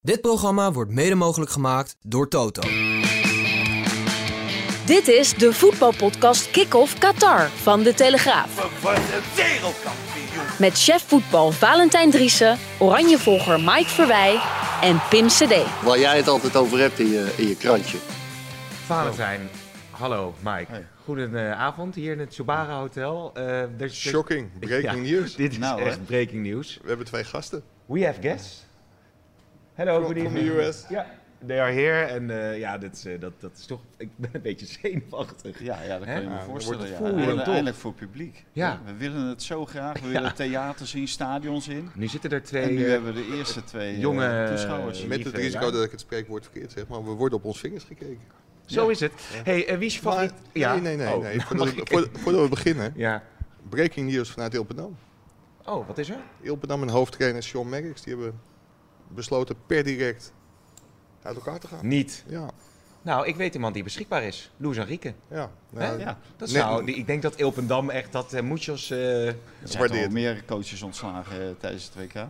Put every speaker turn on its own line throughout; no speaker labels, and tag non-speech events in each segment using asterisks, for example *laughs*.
Dit programma wordt mede mogelijk gemaakt door Toto.
Dit is de voetbalpodcast Kick-Off Qatar van De Telegraaf.
Verworden *laughs* wereldkampioen.
Met chef voetbal Valentijn Driessen, oranjevolger Mike Verwij en Pim Cedee.
Waar jij het altijd over hebt in je, in je krantje.
Valentijn, hallo Mike. Goedenavond hier in het Sobara Hotel. Eh, er- er-
Shocking, breaking news.
*laughs* Dit is
Nou, hè.
echt breaking news.
We hebben twee gasten.
We have guests. Hello,
From-
good
from
evening.
the US.
Ja, they are here. En eh, ja, dit is, eh, dat, dat is toch... Ik ben een beetje *laughs* zenuwachtig.
Ja, ja, dat
Hè?
kan je
Ja,
me
dat
voorstellen.
wordt
Ja.
voel je
Eindelijk-
dan toch?
Eindelijk voor het publiek.
Ja.
We willen het zo
*laughs*
graag. We willen theaters in, stadions in.
Nu zitten er
En
twee...
nu
eh,
hebben we de eerste twee eh,
jonge-
toeschouwers.
Met-
Met
Lieve
het risico
Lijn.
dat ik het spreekwoord verkeerd zeg, maar we worden op ons vingers gekeken.
zo is het. hey, eh, wie is je
Maar-
favoriet?
Nee, nee,
*laughs*
nee.
Oh,
nee.
nou
Voordat,
mag
we-
ik-
voor- voordat we beginnen,
Ja.
breaking news vanuit Ilpenam.
Oh, wat is er?
Ilpenam en hoofdtrainer Sean Merks, die hebben besloten per direct uit elkaar te gaan.
Niet.
Ja,
Nou, ik weet iemand die beschikbaar is. Louis Enrique.
ja.
Hè?
Nou,
Ja,
Dat
Nee.
zou, ik denk dat Ilpendam echt dat eh Muchos... eh,
er zijn toch al
Waardeerd.
meer coaches ontslagen eh, tijdens het WK.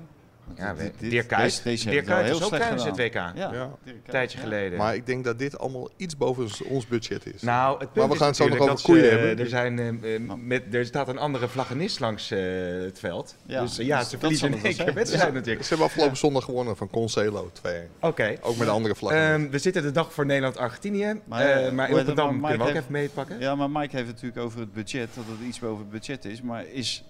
Ja,
Dit-
we-
dit-
Dirk Kuyt.
deze- deze
Dirk
hebben het
Kuyt
wel
was ook
heel slecht
tijdens het
gedaan.
WK.
Ja,
Ja.
Dirk Kuyt,
Een tijdje
ja.
geleden.
Maar ik denk dat dit allemaal iets boven ons- ons budget is.
Nou, het punt
Maar we
is
gaan het zo nog
natuurlijk
over
dat ze, eh,
koeien hebben.
Er, zijn, eh, eh,
Nou.
met, er staat een andere vlaggenist langs eh, het veld.
Ja,
dus eh, ja,
dus
ze
dat
verliezen
zal
in
het
één keer
wel zijn.
wedstrijd
Ze
natuurlijk.
hebben afgelopen zondag gewonnen van Concelo 2
Oké.
Ook met een andere vlag.
Ehm, we zitten de dag voor Nederland-Argentinië.
Maar,
Maar,
eh,
maar
hoe heet het,
Rotterdam
maar
kunnen we ook
Mike
even meepakken.
Ja, maar Mike heeft het natuurlijk over het budget, dat het iets boven het budget is. Maar is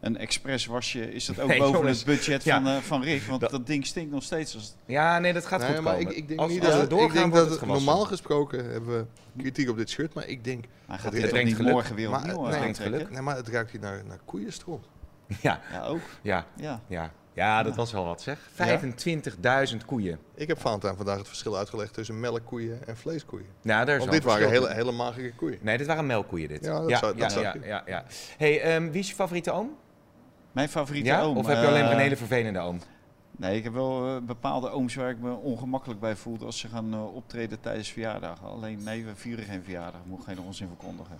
een expres wasje, is dat ook
Nee,
boven
jongens.
het budget
Ja.
van, eh, van Rick? Want
Dat-
dat, ding stinkt nog steeds. Als,
Ja, nee, dat gaat
Nee,
goed
maar
komen.
ik, ik denk
als
niet
als
dat,
we
het- ik
doorgaan,
denk
wordt
dat
het
het-
gewassen.
normaal gesproken hebben we kritiek op dit shirt, maar ik denk
hij gaat
Dat
dit
brengt
toch niet
geluk.
morgen weer
Maar-
opnieuw
nee,
eh,
brengt
aantrekken?
geluk.
Nee, maar het ruikt hier naar, naar koeienstront.
Ja,
Ja, ook.
ja,
Ja.
ja. ja, dat was wel wat zeg. 25.000 koeien.
Ik heb Valentijn vandaag het verschil uitgelegd tussen melkkoeien en vleeskoeien.
Nou, daar is
Want
wel
dit waren
verschil
hele,
in.
hele magere koeien.
Nee, dit waren melkkoeien dit.
Ja, dat zou- dat
ja,
zou
ja,
kunnen.
ja, ja. Hey, ehm, wie is je favoriete oom?
Mijn favoriete
Ja?
oom.
Of heb je alleen maar een
eh,
hele vervelende
*laughs*
oom?
Nee, ik heb wel eh, bepaalde ooms waar ik me ongemakkelijk bij voel als ze gaan eh, optreden tijdens verjaardagen. Alleen nee, we vieren geen verjaardag, ik moet geen onzin verkondigen.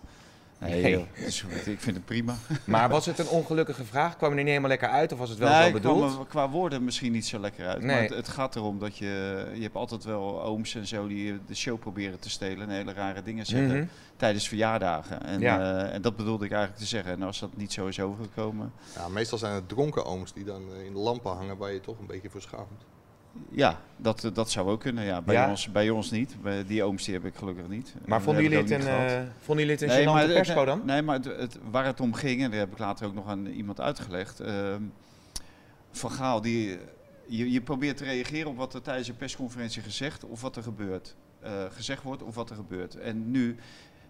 Nee,
Nee.
joh, dat is goed. ik vind het prima.
Maar was het een ongelukkige vraag? Kwam je er niet helemaal lekker uit of was het wel
nee,
zo
ik kwam
bedoeld?
er qua woorden misschien niet zo lekker uit.
Nee.
Maar het, het gaat erom dat je, je hebt altijd wel ooms en zo die eh, de show proberen te stelen en hele rare dingen zeggen
Mhm.
tijdens verjaardagen. En,
Ja.
eh, en dat bedoelde ik eigenlijk te zeggen. En als dat niet zo is overgekomen,
Ja, meestal zijn het dronken ooms die dan eh, in de lampen hangen waar je toch een beetje voor schaamt.
ja, dat, eh, dat zou ook kunnen. Ja, bij,
Ja.
Ons, bij ons niet. Bij die ooms die heb ik gelukkig niet.
Maar
En
vonden
heb
jullie,
ik
het
ook
een,
niet gehad.
eh vonden jullie het een
maar
gênante
het-
persco dan?
*laughs* Nee, maar het, het- waar het om ging, en daar heb ik later ook nog aan iemand uitgelegd. ehm, van Gaal, die, je, je probeert te reageren op wat er tijdens een persconferentie gezegd of wat er gebeurt. eh, gezegd wordt of wat er gebeurt. En nu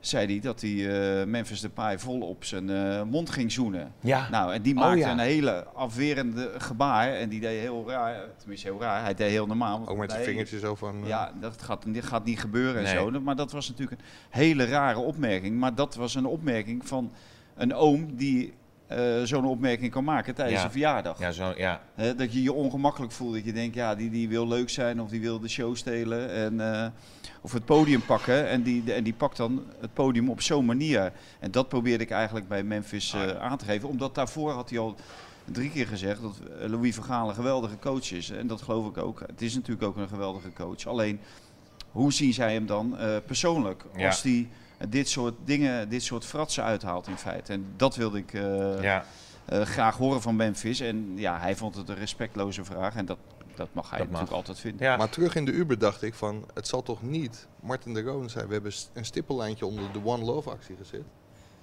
zei hij dat hij eh, Memphis Depay vol op zijn eh, mond ging zoenen.
Ja.
Nou, en die
Oh,
maakte
ja.
een hele afwerende gebaar. En die deed heel raar, tenminste heel raar, hij deed heel normaal. want
Ook met zijn
nee,
vingertje zo van... eh,
ja, dat gaat, dit gaat niet gebeuren
Nee.
en zo. Maar dat was natuurlijk een hele rare opmerking. Maar dat was een opmerking van een oom die eh, zo'n opmerking kan maken tijdens
Ja.
een verjaardag.
ja, zo, ja.
Hè, dat je je ongemakkelijk voelt. Dat je denkt, ja, die, die wil leuk zijn of die wil de show stelen. En, eh, of het podium pakken. En die, en die pakt dan het podium op zo'n manier. En dat probeerde ik eigenlijk bij Memphis eh,
Ah.
aan te geven. Omdat daarvoor had hij al drie keer gezegd dat eh, Louis van Gaal een geweldige coach is. En dat geloof ik ook. Het is natuurlijk ook een geweldige coach. Alleen, hoe zien zij hem dan eh, persoonlijk?
Ja.
Als die dit soort dingen, dit soort fratsen uithaalt in feite. En dat wilde ik... eh,
ja.
eh, graag horen van Memphis. En ja, hij vond het een respectloze vraag. En dat, dat mag hij
Dat mag.
natuurlijk altijd vinden.
ja.
Maar terug in de Uber dacht ik van, het zal toch niet... Martin de Roon zei, we hebben s- een stippellijntje onder de One Love actie gezet.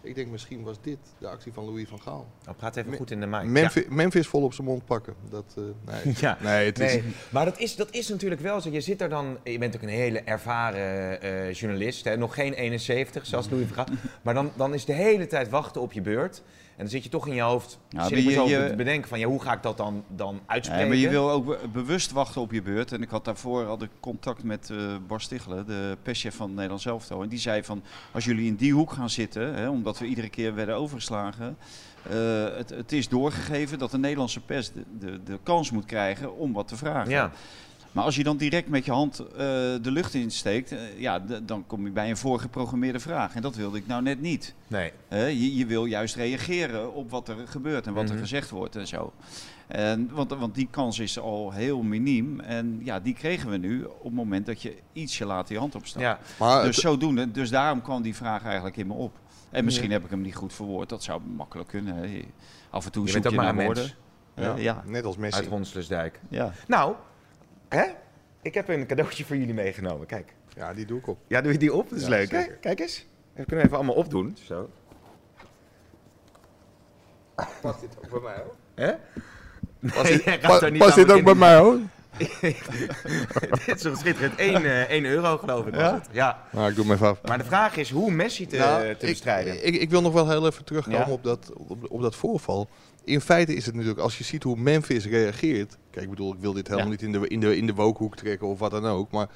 Ik denk, misschien was dit de actie van Louis van Gaal.
Oh, praat even
Me-
goed in de mic.
Memphis, Memphis vol op zijn mond pakken. Dat, eh,
*laughs*
nee.
Ja.
nee, het
Ja.
is...
Nee, maar dat is, dat is natuurlijk wel zo. Je zit er dan, je bent ook een hele ervaren eh,
*laughs*
journalist, hè? nog geen 71 zoals Louis van Gaal. Maar dan, dan is de hele tijd wachten op je beurt. En
dan zit je toch in je hoofd,
Ja,
zit
maar
ik me
je-
zo
je-
te bedenken van ja, hoe ga ik dat dan, dan
Nee,
uitspreken?
Eh, maar je wil ook be- bewust wachten op je beurt. En ik had daarvoor had ik contact met eh Bar Stichelen, de perschef van het Nederlands Elftal. En die zei van, als jullie in die hoek gaan zitten, hè, omdat we iedere keer werden overgeslagen. eh, het, het is doorgegeven dat de Nederlandse pers de, de, de kans moet krijgen om wat te vragen.
Ja,
Maar als je dan direct met je hand eh, de lucht insteekt, eh, ja, d- dan kom je bij een voorgeprogrammeerde vraag. En dat wilde ik nou net niet.
nee.
Hè, je, je wil juist reageren op wat er gebeurt en wat
Mhm.
er gezegd wordt en zo. En, want, want die kans is al heel miniem. En ja, die kregen we nu op het moment dat je ietsje later je hand opstak.
Ja.
Maar
Dus
het-
zodoende, dus daarom kwam die vraag eigenlijk in me op. En misschien heb ik hem niet goed verwoord. Dat zou makkelijk kunnen. hè. Je- Af en toe
Je
zoek
bent ook
je
maar
naar
een
woorden.
mens
ja,
ja.
net als
uit
Messi.
Ronslusdijk.
Ja.
Nou, hè? Ik heb een cadeautje voor jullie meegenomen. Kijk.
Ja, die doe ik op.
Ja, doe je die op? Dat is
Ja,
leuk, hè?
zeker.
Kijk eens. Even kunnen we even allemaal opdoen. Zo.
Past dit ook bij mij hoor?
Hè?
Past dit,
jij gaat
pa-
er niet
past
aan
dit ook bij
beginnen.
mij hoor?
Dit is een schitterend. 1 euro geloof ik was het. Ja.
Nou, ik doe hem even af.
Maar de vraag is hoe Messi te,
Nou,
te
ik-
bestrijden.
Ik, ik, wil nog wel heel even terugkomen
Ja.
op, dat, op, op dat voorval. In feite is het natuurlijk, als je ziet hoe Memphis reageert. Kijk, ik bedoel, ik wil dit helemaal
Ja.
niet in de, in, de, in de wookhoek trekken of wat dan ook. Maar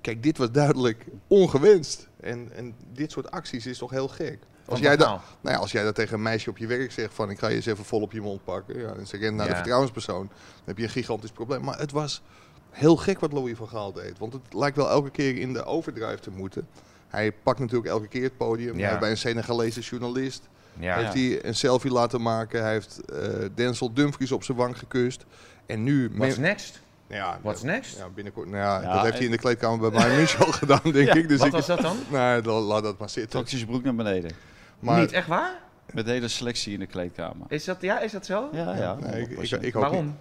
kijk, dit was duidelijk ongewenst. En, en dit soort acties is toch heel gek. Als
Van
jij, dat,
Gaal.
nou ja, als jij dat tegen een meisje op je werk zegt van ik ga je eens even vol op je mond pakken. Ja, en ze rent naar
Ja.
nou, de vertrouwenspersoon. Dan heb je een gigantisch probleem. Maar het was heel gek wat Louis van Gaal deed. Want het lijkt wel elke keer in de overdrive te moeten. Hij pakt natuurlijk elke keer het podium.
Ja.
Hij heeft bij een Senegalese journalist
Ja.
heeft hij een selfie laten maken. Hij heeft eh Denzel Dumfries op zijn wang gekust. En nu...
What's
Mem-
next?
ja,
What's
ja,
next?
ja, binnenkort. Nou ja,
Ja,
dat heeft hij
en-
in de kleedkamer bij Bayern München al gedaan, denk ik. Dus
Wat
ik
was dat
*laughs*
dan?
Nee, dan laat dat maar zitten.
Trok hij zijn broek naar beneden.
Maar,
Niet echt waar?
Met de hele selectie in de kleedkamer.
Is dat, ja, is dat zo?
Ja, ja.
Nee, ik, ik,
100%.
ik hoop
Waarom?
niet.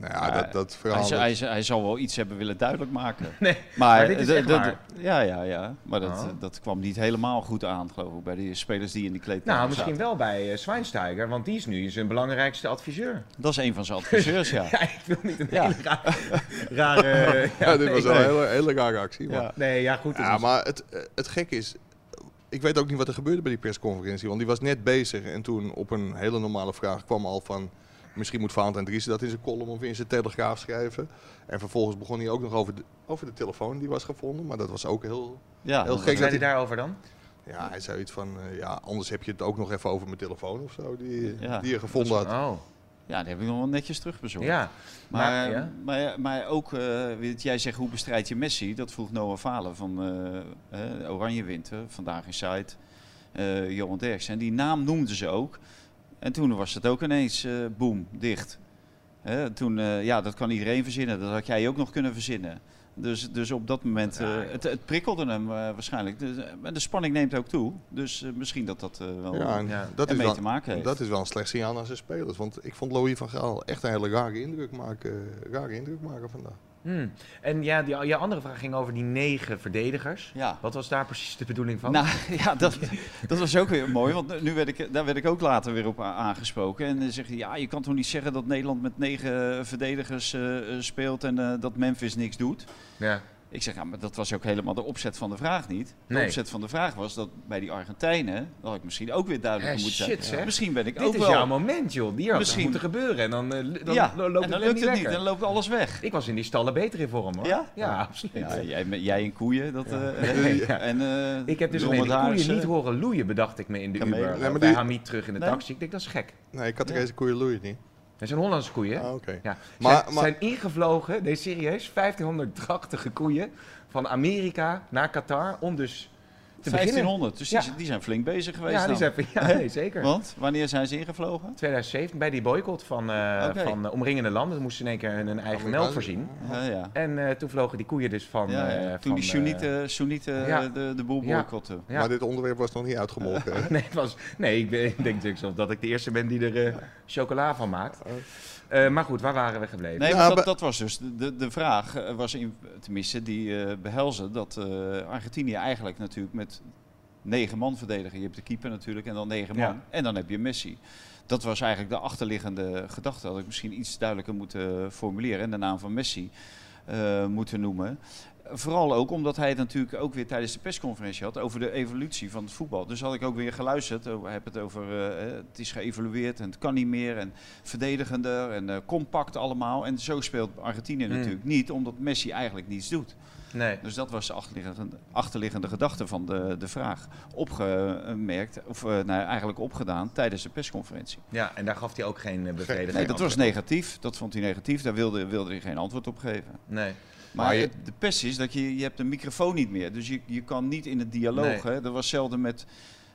Nou ja, dat, dat verhaal...
hij, zou-
dat-
hij, zou- hij zal wel iets hebben willen duidelijk maken.
*laughs* Nee,
Maar,
maar dit is
dat-
echt
dat-
waar.
Ja, ja, ja. Maar dat,
Ah.
dat kwam niet helemaal goed aan, geloof ik, bij de spelers die in die kleedkamer
Nou, misschien
zaten.
wel bij eh, Schweinsteiger, want die is nu zijn belangrijkste adviseur. *laughs*
Dat is een van zijn adviseurs, ja.
Ja, ik wil niet een
Ja.
hele raar- rare...
*laughs*
eh, ja,
*laughs* Ja, dit was
nee.
wel een hele, hele rare actie. Maar,
Ja.
Nee, ja goed. dus het
ja,
is-
maar het, eh, het gek is... Ik weet ook niet wat er gebeurde bij die persconferentie. Want die was net bezig en toen op een hele normale vraag kwam al van... Misschien moet Valentijn Driessen dat in zijn column of in zijn telegraaf schrijven. En vervolgens begon hij ook nog over de, over de telefoon die was gevonden. Maar dat was ook heel...
ja
Heel
dat-
Wat
gek.
zei hij
dat-
daarover dan?
Ja, hij zei iets van... eh, ja, anders heb je het ook nog even over mijn telefoon of zo. Die, eh,
Ja.
die je gevonden had.
Oh,
Ja, die heb ik nog wel netjes terugbezocht.
ja.
Maar, maar,
ja.
maar, ook, eh, weet jij zegt, hoe bestrijd je Messi? Dat vroeg Noah Valen van eh, eh, Oranje Winter, vandaag in site, eh Johan Derksen. En die naam noemden ze ook. En toen was het ook ineens, eh boom, dicht. Hè, toen, eh, ja, dat kan iedereen verzinnen. Dat had jij ook nog kunnen verzinnen. Dus, dus op dat moment, eh, het, het prikkelde hem eh, waarschijnlijk. Dus, eh, maar de spanning neemt ook toe. Dus eh, misschien dat dat eh, wel
Ja, en
Ja.
dat is
ermee
wel,
te maken heeft.
Dat is wel een slecht signaal aan zijn spelers. Want ik vond Louis van Gaal echt een hele rare indruk maken, eh, rare indruk maken vandaag.
Hmm. En ja, die, je andere vraag ging over die negen verdedigers.
Ja.
Wat was daar precies de bedoeling van?
Nou *laughs* ja, dat, dat was ook weer mooi, want nu werd ik, daar werd ik ook later weer op a- aangesproken. En dan zeg je, ja, je kan toch niet zeggen dat Nederland met negen eh, verdedigers eh, eh, speelt en eh, dat Memphis niks doet.
ja.
Ik zeg, ja, maar dat was ook helemaal de opzet van de vraag niet. De
Nee.
opzet van de vraag was dat bij die Argentijnen, dat had ik misschien ook weer duidelijker
Eh,
moet zijn.
shit, zeg.
Misschien ben ik
Dit
ook
is
wel...
jouw moment, joh. Hier had
Misschien-
Misschien... moeten gebeuren. En dan, eh, l- dan
ja,
lo- loopt
en dan
het,
lukt het niet,
lekker.
dan loopt alles weg.
Ik was in die stallen beter in vorm, hoor.
Ja?
absoluut.
Ja, jij, met- jij en koeien, dat... eh,
Nee, *laughs* ja.
en, eh,
Ik heb dus
Ron
alleen die koeien
Haarsen.
niet horen loeien, bedacht ik me in de
Kamelen.
Uber.
Nee, maar
Bij
die-
Hamid terug in de
Nee.
taxi. Ik denk, dat is gek.
Nee, ik had er deze koeien loeien niet.
Dat zijn Hollandse koeien.
Oh.
Ah,
hè?
oké.
Ja.
Maar-
zijn,
maar-
zijn ingevlogen, nee serieus, 1580 koeien van Amerika naar Qatar om dus te beginnen.
1500, dus die,
Ja.
zijn- die zijn flink bezig geweest
Ja, die
dan.
zijn, ja nee, zeker.
Want wanneer zijn ze ingevlogen?
2007 bij die boycott van, eh,
Oké.
van eh, omringende landen. Ze moesten in één keer hun eigen melk voorzien.
Ja, ja.
En eh, toen vlogen die koeien dus van...
ja, ja.
eh,
Toen
van,
die
eh,
Soenieten Soenieten, eh,
ja.
de, de boel
Ja.
boycotten.
Ja.
Maar dit onderwerp was nog niet uitgemolken.
*laughs*
*laughs*
hè?
Nee, het was, nee ik, ben- ik denk natuurlijk zelf dat ik de eerste ben die er eh, chocola van maakt. Eh, maar goed, waar waren we gebleven?
Oh. Nee,
Ja,
want dat,
maar-
dat was dus de, de vraag, eh, was in, tenminste die eh behelzen dat eh, Argentinië eigenlijk natuurlijk met negen man verdedigen. Je hebt de keeper natuurlijk en dan negen man
Ja.
en dan heb je Messi. Dat was eigenlijk de achterliggende gedachte. Had ik misschien iets duidelijker eh, moeten formuleren en de naam van Messi eh, moeten noemen. Vooral ook omdat hij het natuurlijk ook weer tijdens de persconferentie had over de evolutie van het voetbal. Dus had ik ook weer geluisterd. Oh, Hij heb het over eh, het is geëvolueerd en het kan niet meer. En verdedigender en eh, compact allemaal. En zo speelt Argentinië
Mm.
natuurlijk niet, omdat Messi eigenlijk niets doet.
Nee.
Dus dat was de achterliggende, achterliggende gedachte van de, de vraag. Opgemerkt, of eh, nou, eigenlijk opgedaan tijdens de persconferentie.
Ja, en daar gaf hij ook geen eh, bevrediging
Nee, dat was
antwoord op.
negatief. Dat vond hij negatief. Daar wilde, wilde hij geen antwoord op geven.
Nee.
Maar,
Maar je-
het- de pest is dat je, je hebt een microfoon niet meer. Dus je, je kan niet in het dialoog.
Nee.
Hè? Dat was zelden met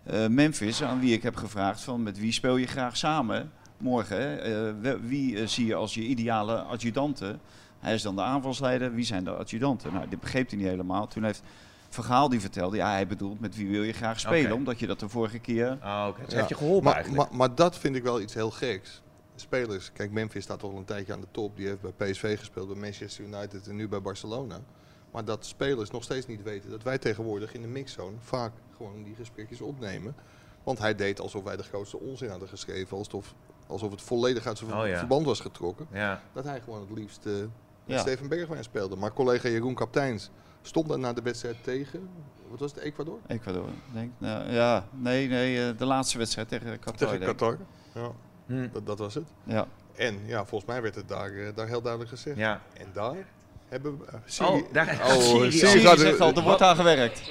eh, Memphis, aan wie ik heb gevraagd van met wie speel je graag samen morgen. hè? Eh, we- wie eh, zie je als je ideale adjudanten? Hij is dan de aanvalsleider. Wie zijn de adjudanten? Nou, dit begreep hij niet helemaal. Toen heeft Vergaal die vertelde, ja, hij bedoelt met wie wil je graag spelen?
Oké.
Omdat je dat de vorige keer...
Oh, oké. Dus
Ja.
heeft je geholpen
maar,
eigenlijk.
Maar, maar dat vind ik wel iets heel geks. Spelers, kijk, Memphis staat al een tijdje aan de top. Die heeft bij PSV gespeeld, bij Manchester United en nu bij Barcelona. Maar dat spelers nog steeds niet weten dat wij tegenwoordig in de mixzone vaak gewoon die gesprekjes opnemen. Want hij deed alsof wij de grootste onzin hadden geschreven. Alsof, alsof het volledig uit zijn ver-
Oh ja.
verband was getrokken.
Ja.
Dat hij gewoon het liefst eh, met
Ja.
Steven Bergwijn speelde. Maar collega Jeroen Kapteins stond daar na de wedstrijd tegen. Wat was het, Ecuador?
Ecuador, denk ik. Nou, ja, nee, nee, eh, de laatste wedstrijd tegen Qatar.
Tegen
denk ik.
Qatar. Ja,
Hm.
dat, dat was het.
Ja.
En ja, volgens mij werd het daar, eh, daar heel duidelijk gezegd.
Ja.
En daar hebben we. eh, Siri-
Oh, daar gaat
eh,
*laughs* Siri
Siri
al.
Siri
gaat-
zegt al, er wordt aan gewerkt.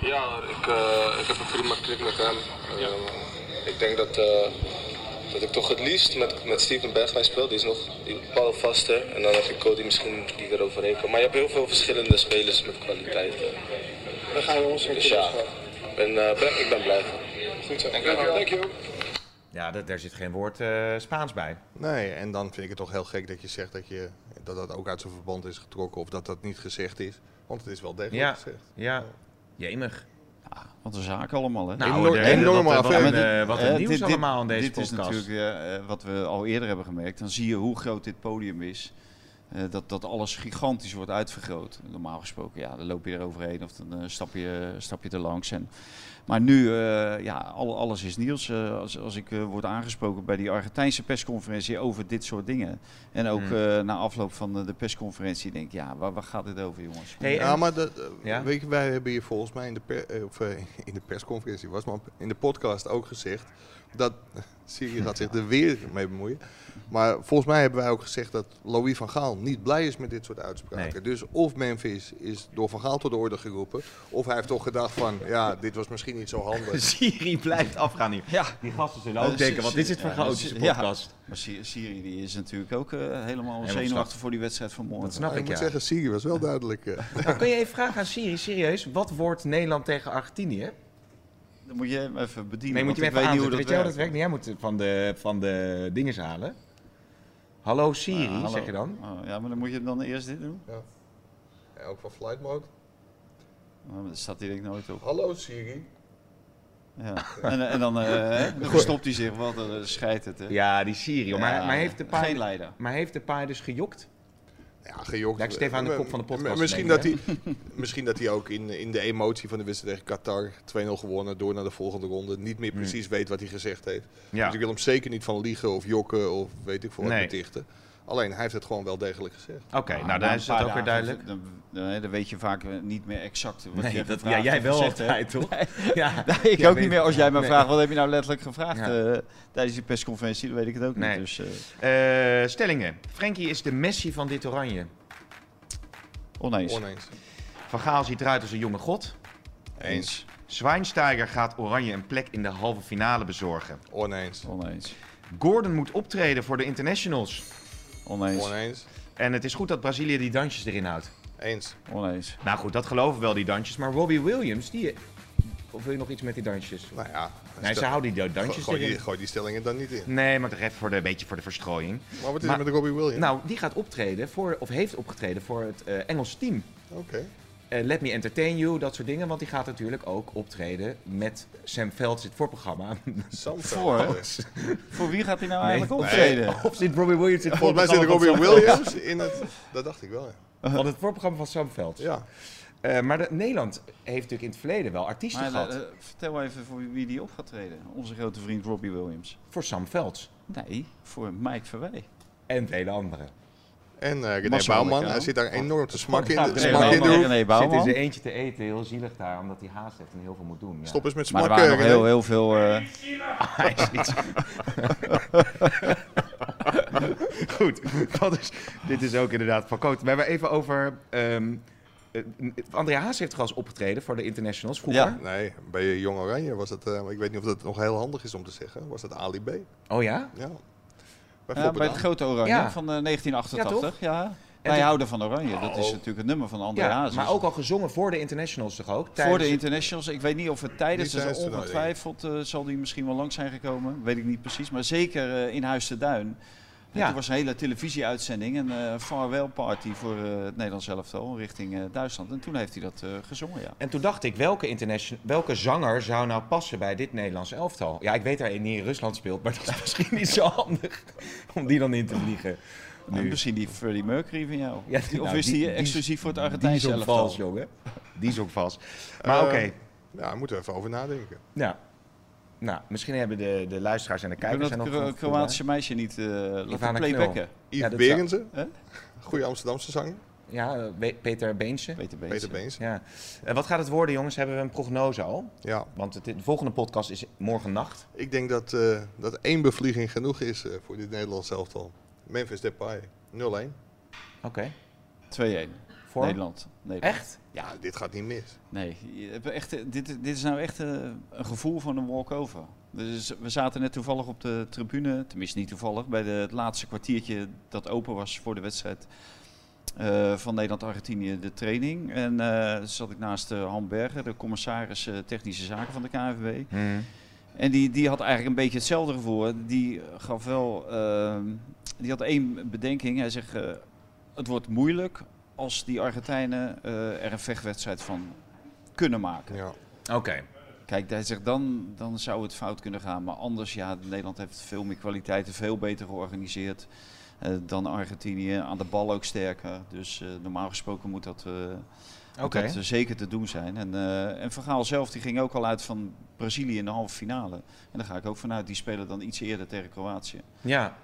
Ja, ik, eh, ik heb een prima klik met hem. Ehm, ik denk dat, eh, dat ik toch het liefst met, met Steven Bergwijn speel. Die is nog die bal vaster. En dan heb ik Cody misschien die eroverheen kan. Maar je hebt heel veel verschillende spelers met kwaliteit. Dan gaan we ons dus ja, ik ben, eh, ben- ik ben blij. Goed zo. Dank je.
Ja, dat, daar zit geen woord eh, Spaans bij.
Nee, en dan vind ik het toch heel gek dat je zegt dat je, dat, dat ook uit zijn verband is getrokken of dat dat niet gezegd is. Want het is wel degelijk
Ja.
gezegd.
Ja. Jemig. Nou,
Wat een zaak allemaal, hè?
Enorm-
de-
enorme
wat, wat,
affaire.
een, eh, wat een
Eh,
nieuws
dit- dit-
allemaal aan deze
dit
podcast.
is natuurlijk eh, eh, wat we al eerder hebben gemerkt. Dan zie je hoe groot dit podium is. Eh, dat, dat alles gigantisch wordt uitvergroot. Normaal gesproken, ja, dan loop je er overheen of dan eh, stap, je, stap je er langs. En, maar nu, eh, ja, al- alles is nieuws. Eh, als, als ik eh, word aangesproken bij die Argentijnse persconferentie over dit soort dingen. En ook
Hmm.
eh, na afloop van eh, de persconferentie denk ik, ja, waar, waar gaat dit over, jongens?
Hey,
Ja,
en-
maar dat, eh,
Ja?
Weet je, wij hebben hier volgens mij in de, per- eh, of, eh, in de persconferentie was, maar in de podcast ook gezegd dat *laughs* Siri gaat zich er weer mee bemoeien. Maar volgens mij hebben wij ook gezegd dat Louis van Gaal niet blij is met dit soort uitspraken.
Nee.
Dus of Memphis is door Van Gaal tot de orde geroepen, of hij heeft toch gedacht van, ja, dit was misschien niet zo
*laughs*
handig.
Siri blijft afgaan hier.
Ja.
Die gasten zullen
Eh,
ook denken, wat
Siri-
is dit voor een
ja,
chaotische
Siri- ja.
podcast?
Maar Sy- Syrië die is natuurlijk ook eh, helemaal
Helemaal
zenuwachtig
slap.
voor die wedstrijd van morgen.
Dat snap
Maar ik
ik,
moet
ja.
zeggen, Siri was wel duidelijk. eh. *laughs*
Nou, kun je even vragen aan Siri, serieus, wat wordt Nederland tegen Argentinië?
Dan moet je hem even bedienen.
Nee, moet je
want
hem even
ik weet
aanzetten.
niet
Weet
hoe
jij hoe
dat
dat werkt? Nee, jij moet van de, van de dinges halen. Hallo Siri,
Ah, hallo.
zeg je dan.
Oh, ja, maar dan moet je dan eerst dit doen.
En ook van flight mode.
Oh, maar dat staat hier denk ik nooit op.
Hallo Siri.
Ja.
*laughs*
En, en dan, eh, dan verstopt hij zich, wat een scheidt het. Hè?
Ja, die Siri. joh. Maar,
Ja,
maar heeft de paai-
Geen leider.
maar heeft de paai dus gejokt?
Ja, gejokt.
Daar is Stefan aan de kop van de podcast,
Misschien
denk
dat,
ik,
hij, *laughs* misschien dat hij ook in, in de emotie van de wedstrijd tegen Qatar 2-0 gewonnen, door naar de volgende ronde, niet meer precies weet wat hij gezegd heeft.
Hmm. Ja.
Dus ik wil hem zeker niet van liegen of jokken of weet ik veel wat
Nee.
betichten. Alleen hij heeft het gewoon wel degelijk gezegd.
Oké, nou
Ah, na
dan
een
is
paar
het ook weer
dagen,
duidelijk.
Dan, dan- dan weet je vaak eh, niet meer exact wat je
Nee, dat,
gevraagd
ja, jij
hebt
wel
gezegd, hè?
altijd, toch? Ja.
Nee, *laughs* ik
Jij
ook
weet-
niet meer. Als jij mij
Nee.
vraagt, wat heb je nou letterlijk gevraagd
Ja.
eh, tijdens die persconferentie, dan weet ik het ook
Nee.
niet. Dus eh,
Eh, stellingen. Frenkie is de Messi van dit oranje.
oneens.
Oneens.
Van Gaal ziet eruit als een jonge god.
Eens.
Zwijnsteiger gaat Oranje een plek in de halve finale bezorgen.
Oneens.
Oneens.
Gordon moet optreden voor de internationals.
Oneens.
Oneens.
En het is goed dat Brazilië die dansjes erin houdt.
Eens.
Oneens.
Nou goed, dat geloven wel, die dansjes. Maar Robbie Williams, die... Of wil je nog iets met die dansjes?
Nou ja.
Nee, ze houden die dansjes
gooi,
erin.
die, gooi die stellingen dan niet in.
Nee, maar toch even voor de, een beetje voor de verstrooiing.
Maar wat is
Maar-
er met Robbie Williams?
Nou, die gaat optreden voor, of heeft opgetreden voor het eh Engels team.
Oké.
Eh, Let Me Entertain You, dat soort dingen. Want die gaat natuurlijk ook optreden met Sam Velds, dit
*laughs*
voorprogramma. *laughs*
Samsung.
Voor, hè? Voor wie gaat hij nou eigenlijk optreden?
Nee. Oh. Of zit Robbie Williams in het *laughs*
Volgens mij zit
voorprogramma
Robbie
van
Williams in het... Dat dacht ik wel, ja.
Sam- Van het voorprogramma van Sam Velds.
ja.
Eh, maar de- Nederland heeft natuurlijk in het verleden wel artiesten
Maar,
gehad.
eh, vertel even voor wie die op gaat treden. Onze grote vriend Robbie Williams.
voor Sam Velds
Nee, voor Mike Verwij.
en vele anderen.
En eh, René
Massa
Bouwman.
Horeca.
Hij zit daar enorm te smakken in de,
René
smakken in de
Bouwman.
hoek.
René
Zit in
Bouwman.
zijn eentje te eten, heel zielig daar, omdat hij haast heeft en heel veel moet doen. Ja.
Stop eens met
Maar er waren
smakken.
nog
René.
heel, heel veel... eh, hij is niet-
Goed, *laughs* dat is, dit is ook inderdaad van Koot. We hebben even over... ehm eh, André Haas heeft trouwens opgetreden voor de internationals vroeger.
Ja.
Nee, bij Jong Oranje was dat, eh, ik weet niet of dat nog heel handig is om te zeggen, was dat Ali B.
Oh ja?
Ja. Bij
Ja, bij het
Volpendam.
grote Oranje
Ja.
van eh,
Ja,
1988. Ja, Wij
toen-
houden van Oranje. Dat is natuurlijk het nummer van André
ja
Hazes.
maar ook al gezongen voor de internationals toch ook?
Voor de
Tijdens-
internationals. Ik weet niet of het tijdens
Niet
is.
tijdens het toernooi,
Ongetwijfeld eh, zal die misschien wel lang zijn gekomen. Weet ik niet precies. Maar zeker eh, in Huis te Duin. En
Ja.
Toen was een hele televisieuitzending. Een eh farewell party voor eh, het Nederlands elftal richting eh, Duitsland. En toen heeft hij dat eh, gezongen, ja.
En toen dacht ik, welke, internation- welke zanger zou nou passen bij dit Nederlands elftal? Ja, ik weet dat hij niet in Rusland speelt, maar *laughs* dat is misschien niet zo handig om die dan in te vliegen. Nu.
En misschien die Freddie Mercury van jou.
Ja,
of
nou,
is die,
die- die-
exclusief voor het
Die is
Argentijnse
ook
elftal?
vals, jongen. Die is ook vals. Ehm, Maar
Eh,
oké,
Ja, daar moeten we even over nadenken.
nou. nou, misschien hebben de, de luisteraars en de
Kunnen
kijkers...
dat
er nog
Kro-
een gevoel bij.
Kroatische meisje niet eh laten
Ivana
playbacken?
Yves
Ja, dat zou-
Berensen,
Hè?
goede Amsterdamse zanger.
Ja, eh, Be- Peter Beentje.
Peter Beens.
Peter Beens.
Ja. Eh, wat gaat het worden, jongens? Hebben we een prognose al?
Ja,
Want het, de volgende podcast is morgen nacht.
ik denk dat, eh, dat één bevlieging genoeg is eh, voor dit Nederlands elftal. Memphis Depay, 0-1.
Oké.
2-1.
Voor?
Nederland. Nederland.
Echt?
Ja, Nou, dit gaat niet mis.
Nee, je hebt echt, eh, dit, dit is nou echt eh, een gevoel van een walkover. Dus we zaten net toevallig op de tribune, tenminste niet toevallig, bij de, het laatste kwartiertje dat open was voor de wedstrijd eh, van Nederland-Argentinië, de training. En eh, toen zat ik naast eh Han Berger, de commissaris eh, technische zaken van de KNVB. En die, die had eigenlijk een beetje hetzelfde gevoel. Die eh, gaf wel, ehm, die had één bedenking. Hij zegt, eh, het wordt moeilijk als die Argentijnen eh, er een vechtwedstrijd van kunnen maken.
Ja.
Oké.
Kijk, hij zegt dan, dan zou het fout kunnen gaan. Maar anders, ja, Nederland heeft veel meer kwaliteiten, veel beter georganiseerd eh, dan Argentinië. Aan de bal ook sterker. Dus eh, normaal gesproken moet dat, eh, moet
Oké.
dat, eh, zeker te doen zijn. En, eh en Van Gaal zelf die ging ook al uit van Brazilië in de halve finale. En daar ga ik ook vanuit. Die spelen dan iets eerder tegen Kroatië.
Ja,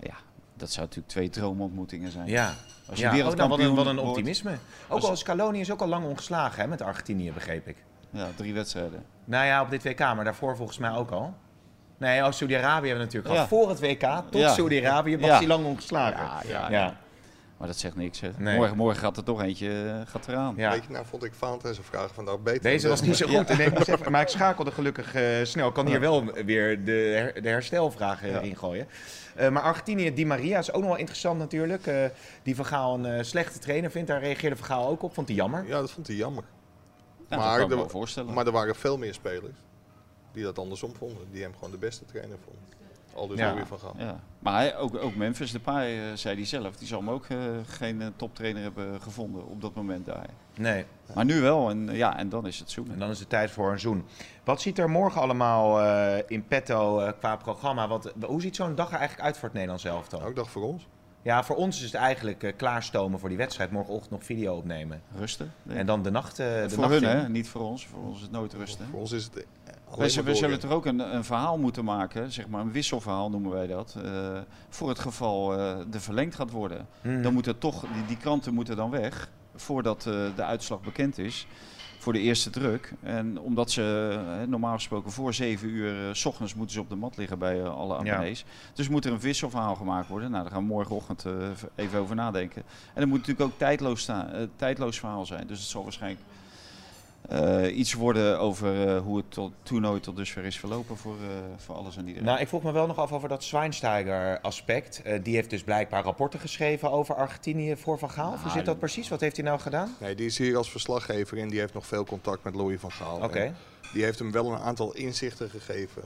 Ja, dat zou natuurlijk twee droomontmoetingen zijn.
ja.
Als je
ja.
wereldkampioen
Oh, nou, wat, een, wat een
wordt.
optimisme. Ook
Als-
al Scaloni is ook al lang ongeslagen hè, met Argentinië, begreep ik.
Ja, drie wedstrijden.
Nou ja, op dit WK, maar daarvoor volgens mij ook al. Nee, oh, Saudi-Arabië hebben we natuurlijk al.
Ja.
Voor het WK, tot
Ja.
Saudi-Arabië, was
Ja.
hij lang ongeslagen.
Ja,
ja.
ja, ja. Maar dat zegt niks. Hè.
Nee.
Morgen, morgen gaat er toch eentje eh, gaat eraan.
Ja.
Weet je, nou vond ik Valentijn zijn vragen vandaag beter.
Deze
dan
was
de-
niet zo goed, nee, ik moest even- maar ik schakelde gelukkig eh, snel. Ik kan hier wel weer de, her- de herstelvragen
Ja.
in gooien. Eh, maar Argentinië, Di Maria is ook nog wel interessant natuurlijk. Eh, die Van Gaal een eh, slechte trainer vindt, daar reageerde Van Gaal ook op. Vond hij jammer.
Ja, dat vond hij jammer.
Ja,
Maar
Nou, dat kan ik
de-
me wel voorstellen.
Maar er waren veel meer spelers die dat andersom vonden. Die hem gewoon de beste trainer vonden. Al dus
Ja.
ook weer van gaan.
ja. maar hij- ook, ook Memphis Depay, eh, zei hij zelf, die zal hem ook eh, geen eh, toptrainer hebben gevonden op dat moment daar.
Nee,
Maar nu wel, en, eh, ja, en dan is het
En
zoenen.
dan is het tijd voor een zoen. Wat ziet er morgen allemaal eh, in petto eh, qua programma? Want, eh, hoe ziet zo'n dag er eigenlijk uit voor het Nederlands elftal?
Nou, ik dacht voor ons.
Ja, voor ons is het eigenlijk eh, klaarstomen voor die wedstrijd. Morgenochtend nog video opnemen.
Rusten. denk
En
ik.
dan de nacht. eh, de
voor
nacht
hun,
in.
hè? niet voor ons. Voor ons is het nooit rusten.
Voor ons is het. eh,
Wij
alleen
zullen,
maar
we zullen
doorgaan.
toch ook een, een verhaal moeten maken, zeg maar een wisselverhaal noemen wij dat. eh, voor het geval eh er verlengd gaat worden.
Hmm.
Dan moeten toch, die, die kranten moeten dan weg voordat eh, de uitslag bekend is. Voor de eerste druk. En omdat ze eh, normaal gesproken voor zeven uur eh, s ochtends moeten ze op de mat liggen bij eh, alle
Ja.
abonnees. Dus moet er een wisselverhaal gemaakt worden. Nou, daar gaan we morgenochtend eh, even over nadenken. En het moet natuurlijk ook tijdloos, sta- eh, tijdloos verhaal zijn. Dus het zal waarschijnlijk eh, iets worden over eh, hoe het tot, toernooi tot dusver is verlopen voor, eh, voor alles en iedereen.
Nou, ik vroeg me wel nog af over dat Schweinsteiger-aspect. Eh, die heeft dus blijkbaar rapporten geschreven over Argentinië voor Van Gaal. Hoe
Nou,
zit dat precies? Wat heeft hij nou gedaan?
Nee, die is hier als verslaggever en die heeft nog veel contact met Louis van Gaal.
Oké.
En Die heeft hem wel een aantal inzichten gegeven.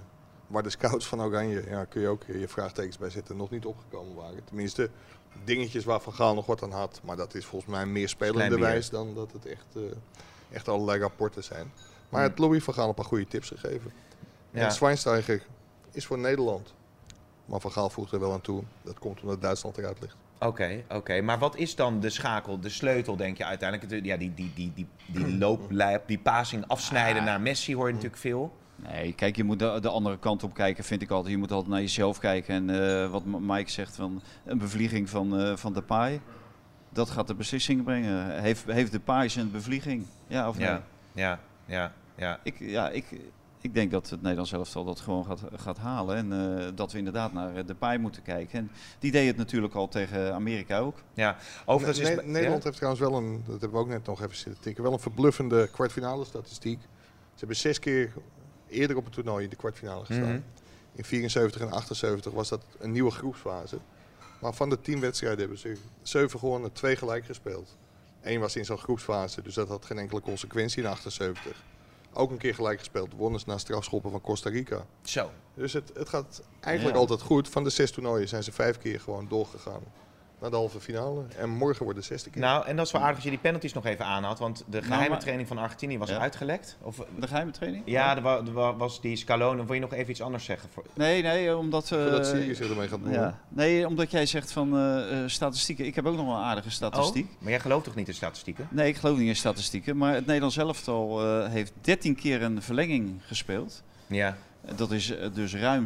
Waar de scouts van Oranje, ja, kun je ook je vraagtekens bij zetten, nog niet opgekomen waren. Tenminste, dingetjes waar Van Gaal nog wat aan had. Maar dat is volgens mij meer
Klein
spelende
bier.
wijs dan dat het echt, eh, echt allerlei rapporten zijn. Maar het Louis van Gaal een paar goede tips gegeven.
Ja.
En Schweinsteiger is voor Nederland. Maar Van Gaal voegt er wel aan toe. Dat komt omdat Duitsland eruit ligt.
Oké, oké. Maar wat is dan de schakel, de sleutel, denk je *clears throat* Ah. uiteindelijk? Ja, die, die, die, die, die looplijp, die passing afsnijden naar Messi hoor je natuurlijk veel.
Nee, kijk, je moet de, de andere kant op kijken, vind ik altijd. Je moet altijd naar jezelf kijken. En eh, wat M- Mike zegt, van een bevlieging van, eh van Depay, dat gaat de beslissing brengen. Heeft, heeft Depay zijn bevlieging? Ja of nee?
Ja, ja, ja, ja.
Ik, ja, ik, ik denk dat het Nederlands elftal dat gewoon gaat, gaat halen. En eh, dat we inderdaad naar eh, Depay moeten kijken. En die deed het natuurlijk al tegen Amerika ook.
ja. Overigens is...
Ne- Nederland heeft trouwens wel een, dat hebben we ook net nog even zitten tikken, wel een verbluffende kwartfinale statistiek. Ze hebben zes keer eerder op het toernooi in de kwartfinale gestaan.
Mhm.
In 74 en 78 was dat een nieuwe groepsfase. Maar van de tien wedstrijden hebben ze zeven gewonnen, twee gelijk gespeeld. Eén was in zo'n groepsfase, dus dat had geen enkele consequentie in 78. Ook een keer gelijk gespeeld, wonnen ze na strafschoppen van Costa Rica.
Zo.
Dus het, het gaat eigenlijk
Ja.
altijd goed. Van de zes toernooien zijn ze vijf keer gewoon doorgegaan naar de halve finale. En morgen wordt de zesde keer.
Nou, en dat is wel aardig als je die penalties nog even aanhaalt. Want de geheime
Nou, maar-
training van Argentinië was
Ja.
uitgelekt. Of,
De geheime training?
ja, er, wa- er wa- was die Scalone. Wil je nog even iets anders zeggen? Voor,
Nee, nee, omdat... eh,
Voordat Syrië zich ermee gaat bemoeien.
ja. Nee, omdat jij zegt van eh, eh, statistieken. Ik heb ook nog wel een aardige statistiek.
Oh, maar jij gelooft toch niet in statistieken?
Nee, ik geloof niet in statistieken. Maar het Nederlands elftal eh, heeft 13 keer een verlenging gespeeld.
Ja.
Dat is eh, dus ruim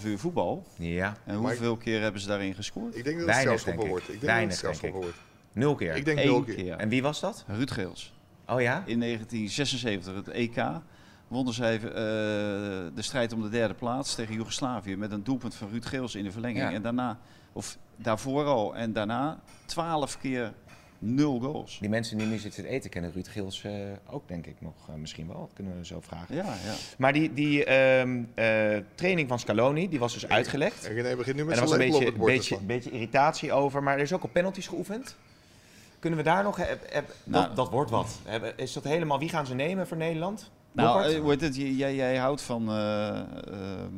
6,5 uur voetbal.
Ja.
En
Maar
hoeveel keer hebben ze daarin gescoord?
Ik denk dat
Weinig,
het zelfs
denk ik.
wordt. Ik denk
Weinig,
dat het zelfs
denk ik.
wordt.
Nul keer.
Ik denk
Eén
wel
keer.
En wie was dat?
Ruud Geels.
Oh ja?
In 1976, het EK, wonnen zij eh, de strijd om de derde plaats tegen Joegoslavië met een doelpunt van Ruud Geels in de verlenging.
Ja.
En daarna, of daarvoor al en daarna, 12 keer nul goals.
Die mensen die nu zitten te eten kennen Ruud Gils eh, ook, denk ik nog. eh, misschien wel, dat kunnen we zo vragen.
Ja, ja.
Maar die, die ehm, eh, training van Scaloni, die was dus uitgelekt.
En René begint nu
En
met
er
zijn
was een
lepel op
beetje,
het bord te
beetje,
slaan.
beetje irritatie over, maar er is ook op penalties geoefend. Kunnen we daar nog... heb- heb-
Nou.
dat, dat wordt wat. Hebben- Is dat helemaal... Wie gaan ze nemen voor Nederland?
Nou,
Boppert?
eh, hoe heet het, J- jij, jij houdt van eh, ehm,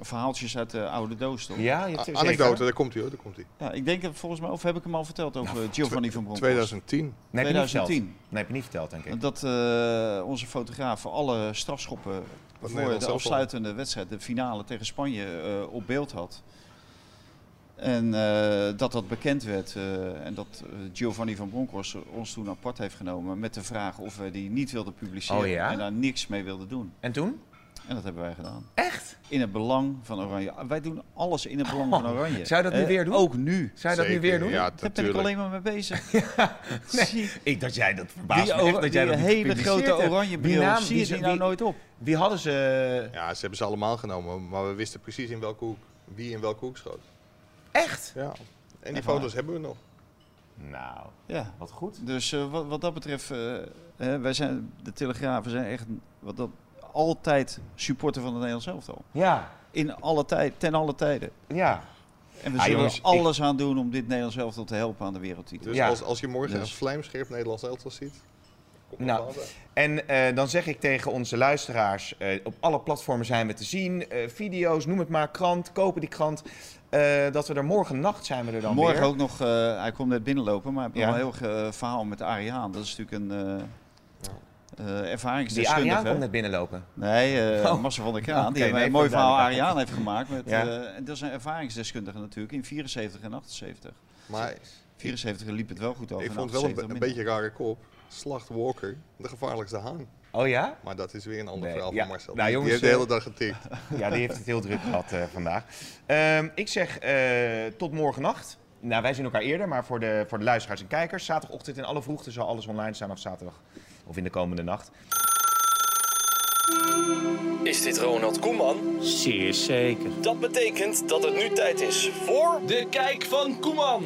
verhaaltjes uit de oude doos, toch?
ja, je
A-
hebt zeker.
Ah, Anekdote, daar komt hij hoor, daar komt hij.
Ja, ik denk dat volgens mij, of heb ik hem al verteld over Giovanni van Bronckhorst?
2010.
Nou, Nee, heb je niet verteld.
2010.
Nee, heb je niet verteld, denk ik.
Dat eh, onze fotograaf alle strafschoppen voor
Nederland
de
zelf
afsluitende wedstrijd, de finale tegen Spanje, eh, op beeld had. En eh, dat dat bekend werd eh, en dat eh, Giovanni van Bronckhorst ons toen apart heeft genomen met de vraag of we die niet wilden publiceren
Oh ja?
en daar niks mee wilden doen.
En toen?
En dat hebben wij gedaan.
Echt?
In het belang van Oranje. Wij doen alles in het belang van Oranje.
Oh, Zou je dat nu
Eh,
weer doen?
Ook nu.
Zou je dat nu
Zeker,
weer doen?
Ja,
Daar ben ik
natuurlijk.
alleen maar mee
*laughs*
bezig. Zie-
Ik, dat jij dat verbaast
Die,
me echt,
ora-
dat jij
die
dat niet
hele
gepubliceerd
grote
hebt.
oranje
Die
bril,
naam,
zie je die
die-
nou
die-
nooit op?
Wie hadden ze...
Ja, ze hebben ze allemaal genomen, maar we wisten precies in welke hoek, wie in welke hoek schoot.
Echt?
Ja. En die
Echt waar?
foto's hebben we nog.
Nou,
Ja.
wat goed.
Dus eh, wat, wat dat betreft, eh, hè, wij zijn, de Telegrafen zijn echt wat dat, altijd supporter van het Nederlands elftal.
Ja,
In alle tijd, ten alle tijden.
ja.
En we
Ah,
zullen
jongens,
er alles aan doen om dit Nederlands elftal te helpen aan de wereldtitel.
Dus
Ja.
als, als je morgen
Dus-
een vlijmscherp Nederlands elftal ziet, kom
Nou,
nou.
En eh, dan zeg ik tegen onze luisteraars, eh, op alle platformen zijn we te zien. eh, video's, noem het maar, krant, kopen die krant. eh, dat we er morgen nacht zijn we er dan
Morgen
weer.
ook nog, eh, hij komt net binnenlopen, maar ik heb
Ja.
nog een heel ge- eh, verhaal met Arie Haan. Dat is natuurlijk een eh eh,
Die
ervaringsdeskundige.
Ariaan komt net binnenlopen.
Nee, eh
Oh.
Massa van
*laughs*
der
Oké,
Kraan. die
nee,
hebben een
voor
mooi verhaal
duidelijkheid.
Ariaan heeft gemaakt. Met,
Ja.
eh, en dat is een ervaringsdeskundige natuurlijk in 74 en 78.
Maar
74 liep het wel goed over.
ik
en
vond het wel een, be-
78
een
minder.
beetje rare kop. Slacht Walker, de gevaarlijkste haan.
Oh ja?
Maar dat is weer een ander
Nee,
verhaal
ja.
van Marcel.
Nou,
Die-
jongens,
die
eh,
heeft de hele dag getikt.
Ja, die heeft het heel druk gehad eh, vandaag. Ehm, ik zeg eh, tot morgennacht. Nou, wij zien elkaar eerder, maar voor de, voor de luisteraars en kijkers. Zaterdagochtend in alle vroegte zal alles online staan of zaterdag of in de komende nacht.
Is dit Ronald Koeman?
Zeer zeker.
Dat betekent dat het nu tijd is voor de kijk van Koeman.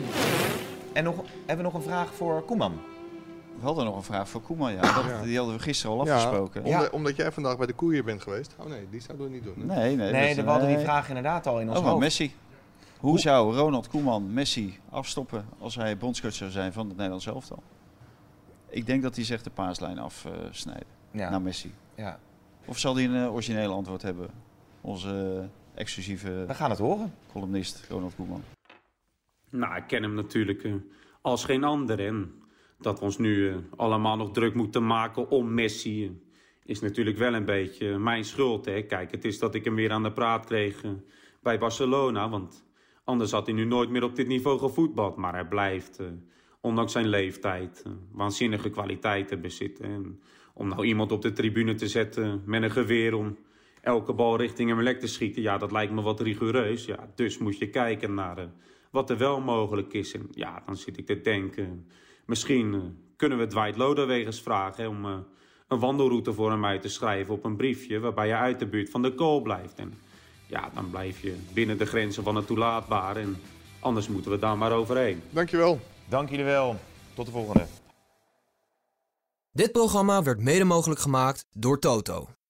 En nog, hebben we nog een vraag voor Koeman?
We hadden nog een vraag voor Koeman. Ja. Dat, Die hadden we gisteren al
Ja,
afgesproken.
Omdat, omdat jij vandaag bij de koeien bent geweest. Oh nee, die zouden we niet doen.
Nee, nee.
Nee,
dat-
we hadden die
nee.
vraag inderdaad al in ons
Oh, maar
hoofd.
Messi. Hoe, zou Ronald Koeman Messi afstoppen als hij bondscoach zou zijn van het Nederlands elftal? Ik denk dat hij zegt de paaslijn afsnijden
Ja,
naar Messi.
ja.
Of zal hij een eh, originele antwoord hebben? Onze eh, exclusieve
We gaan het horen.
columnist Ronald Koeman.
Nou, ik ken hem natuurlijk eh, als geen ander. En dat we ons nu eh, allemaal nog druk moeten maken om Messi... eh, is natuurlijk wel een beetje eh, mijn schuld. Hè? Kijk, het is dat ik hem weer aan de praat kreeg eh, bij Barcelona. Want anders had hij nu nooit meer op dit niveau gevoetbald. Maar hij blijft, eh, ondanks zijn leeftijd, eh, waanzinnige kwaliteiten bezitten. En om nou iemand op de tribune te zetten met een geweer om elke bal richting een lek te schieten, ja, dat lijkt me wat rigoureus. Ja, dus moet je kijken naar eh, wat er wel mogelijk is. En ja, dan zit ik te denken, misschien eh, kunnen we Dwight Lodewegers vragen hè, om eh, een wandelroute voor hem uit te schrijven op een briefje waarbij je uit de buurt van de goal blijft. En ja, dan blijf je binnen de grenzen van het toelaatbare en anders moeten we daar maar overheen.
Dankjewel.
Dank jullie wel. Tot de volgende.
Dit programma werd mede mogelijk gemaakt door Toto.